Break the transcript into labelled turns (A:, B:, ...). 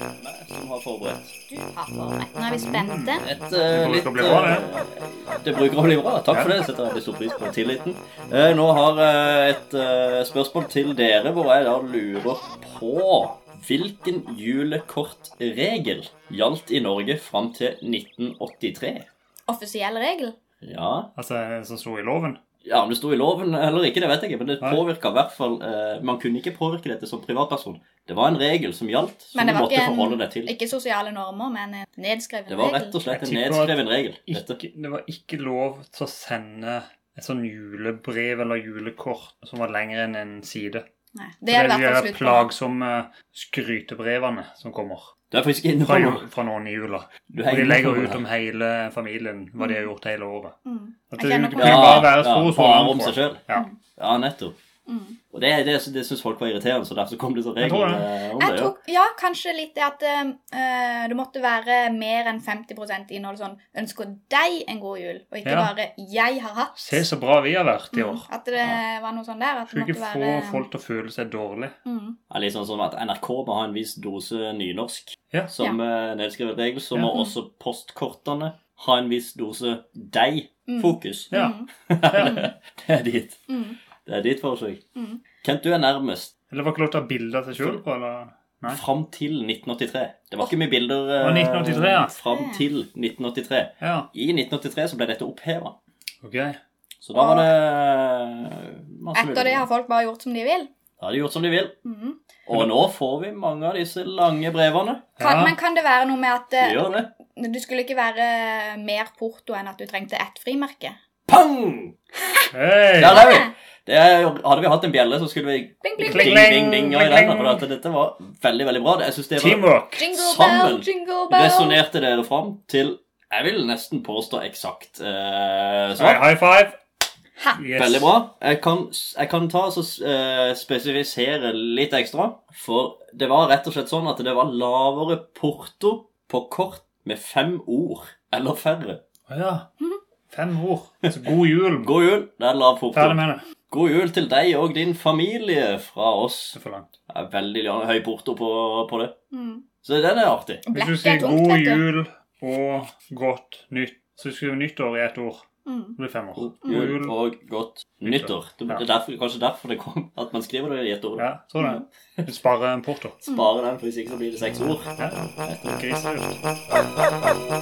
A: Nei, som har forberedt.
B: Du har forberedt. Nå er vi spente.
A: Et
C: Det
A: eh,
C: kommer
A: litt
C: til å bli bra, det.
A: eh, det bruker å bli bra. Takk for det. Jeg setter veldig stor pris på tilliten. Eh, nå har jeg et eh, spørsmål til dere, hvor jeg da lurer på Hvilken julekortregel gjaldt i Norge fram til 1983?
B: Offisiell regel.
A: Ja
C: Altså, som sto i loven.
A: Ja, om det sto i loven eller ikke, det vet jeg ikke, men det
C: Nei.
A: påvirka i hvert fall eh, Man kunne ikke påvirke dette som privatperson. Det var en regel som gjaldt, som
B: Men det
A: du
B: var
A: måtte
B: ikke,
A: forholde deg
B: en,
A: til.
B: ikke sosiale normer, men en nedskrevet
A: Det var rett
B: regel.
A: og slett
C: Jeg
A: en
C: tipper at
A: nedskreven regel. Dette.
C: Ikke, det var ikke lov til å sende et sånn julebrev eller julekort som var lengre enn en side.
B: Nei,
C: Det
B: det er
C: er
B: det i hvert
C: de
B: fall
C: der
B: slutt på.
C: plagsomme skrytebrevene som kommer
A: Du er faktisk inne
C: fra,
A: på
C: jul,
A: noe.
C: fra noen i jula.
A: Du
C: Og
A: er
C: de
A: inne på
C: legger
A: noe
C: ut
A: her.
C: om hele familien hva de har gjort hele året.
B: Mm.
C: At
B: Jeg
C: det,
B: kjenner på
C: det kunne
B: det.
C: bare være så
A: ja,
C: og så
A: bare
C: langt
A: om seg
C: på.
A: selv.
C: Ja.
A: Ja, nettopp.
B: Mm.
A: Og det, det, det syns folk var irriterende, så derfor kom det sånn
C: Jeg
A: regler
C: tror
A: eh, om
B: Jeg
A: det. Ja.
B: tror, ja, kanskje litt det at eh, det måtte være mer enn 50 innhold sånn ønsker deg en god jul, og ikke
C: Ja.
B: bare 'jeg har hatt'.
C: Se så bra vi har vært i
B: Mm,
C: år.
B: At det var noe sånn der. At det
C: Skulle
B: måtte
C: ikke få
B: være
C: folk til å føle seg dårlig.
B: mm.
A: Ja, litt sånn som at NRK må ha en viss dose nynorsk
C: Ja.
A: som eh, nedskrevet regel, så
C: Ja.
A: må også postkortene ha en viss dose
B: Mm.
A: deg-fokus.
C: Ja.
B: Mm.
A: det er ditt.
B: Mm.
A: Det er ditt forsøk.
B: Mm.
A: Kent, du er nærmest.
C: Eller var ikke lov til å ha bilder av seg sjøl på, eller? Nei.
A: Fram til 1983. Det var ikke mye bilder eh,
C: var 1983, ja.
A: fram til 1983.
C: Ja.
A: I 1983 så ble dette oppheva.
C: Ok.
A: Så da var det masse
B: Etter det
A: muligheter.
B: har folk bare gjort som de vil.
A: Da har de gjort som de vil.
B: Mm.
A: Og nå får vi mange av disse lange brevene.
B: Kan,
C: Ja.
B: Men kan det være noe med at
A: Vi
B: eh,
A: gjør det.
B: du skulle ikke være mer porto enn at du trengte ett frimerke?
A: Pang!
C: Hei!
A: Der er vi! Det er, jo- hadde vi hatt en bjelle, så skulle vi ding,
B: Bling, bling,
C: Kling,
B: bling.
A: ding, ding, og i
C: kling,
A: den.
C: kling.
A: For at dette var veldig, veldig bra. Det- Jeg synes det var
C: Teamwork.
B: Jingle bell,
A: Sammen
B: jingle bell.
A: Resonnerte dere fram til Jeg vil nesten påstå eksakt eh,
C: Hei,
A: svar.
C: high five.
B: Ha.
C: Yes.
A: Veldig bra. Jeg kan, jeg kan ta og så, eh, spesifisere litt ekstra. For det var rett og slett sånn at det var lavere porto på kort med fem ord eller færre.
C: Å ja. Fem ord. Så god jul.
A: God jul. Det er lav porto.
C: Ferdig med det.
A: God jul til deg og din familie fra oss.
C: Så for langt.
A: Det er veldig høy porto på, på det.
B: Mm.
A: Så den er artig.
C: Hvis
B: Black
C: du sier
B: er tungt,
C: god
B: vet du.
C: jul og godt nytt, så skriver du nyttår i ett ord.
B: Mm.
C: Det blir fem år.
A: God jul og godt nyttår. Det
C: Ja.
A: er derfor, kanskje derfor det kom at man skriver det i ett ord.
C: Ja, tror det. Du sparer en porto.
A: Spare den, for hvis ikke så blir det seks ord.
C: Ja. Griselurt.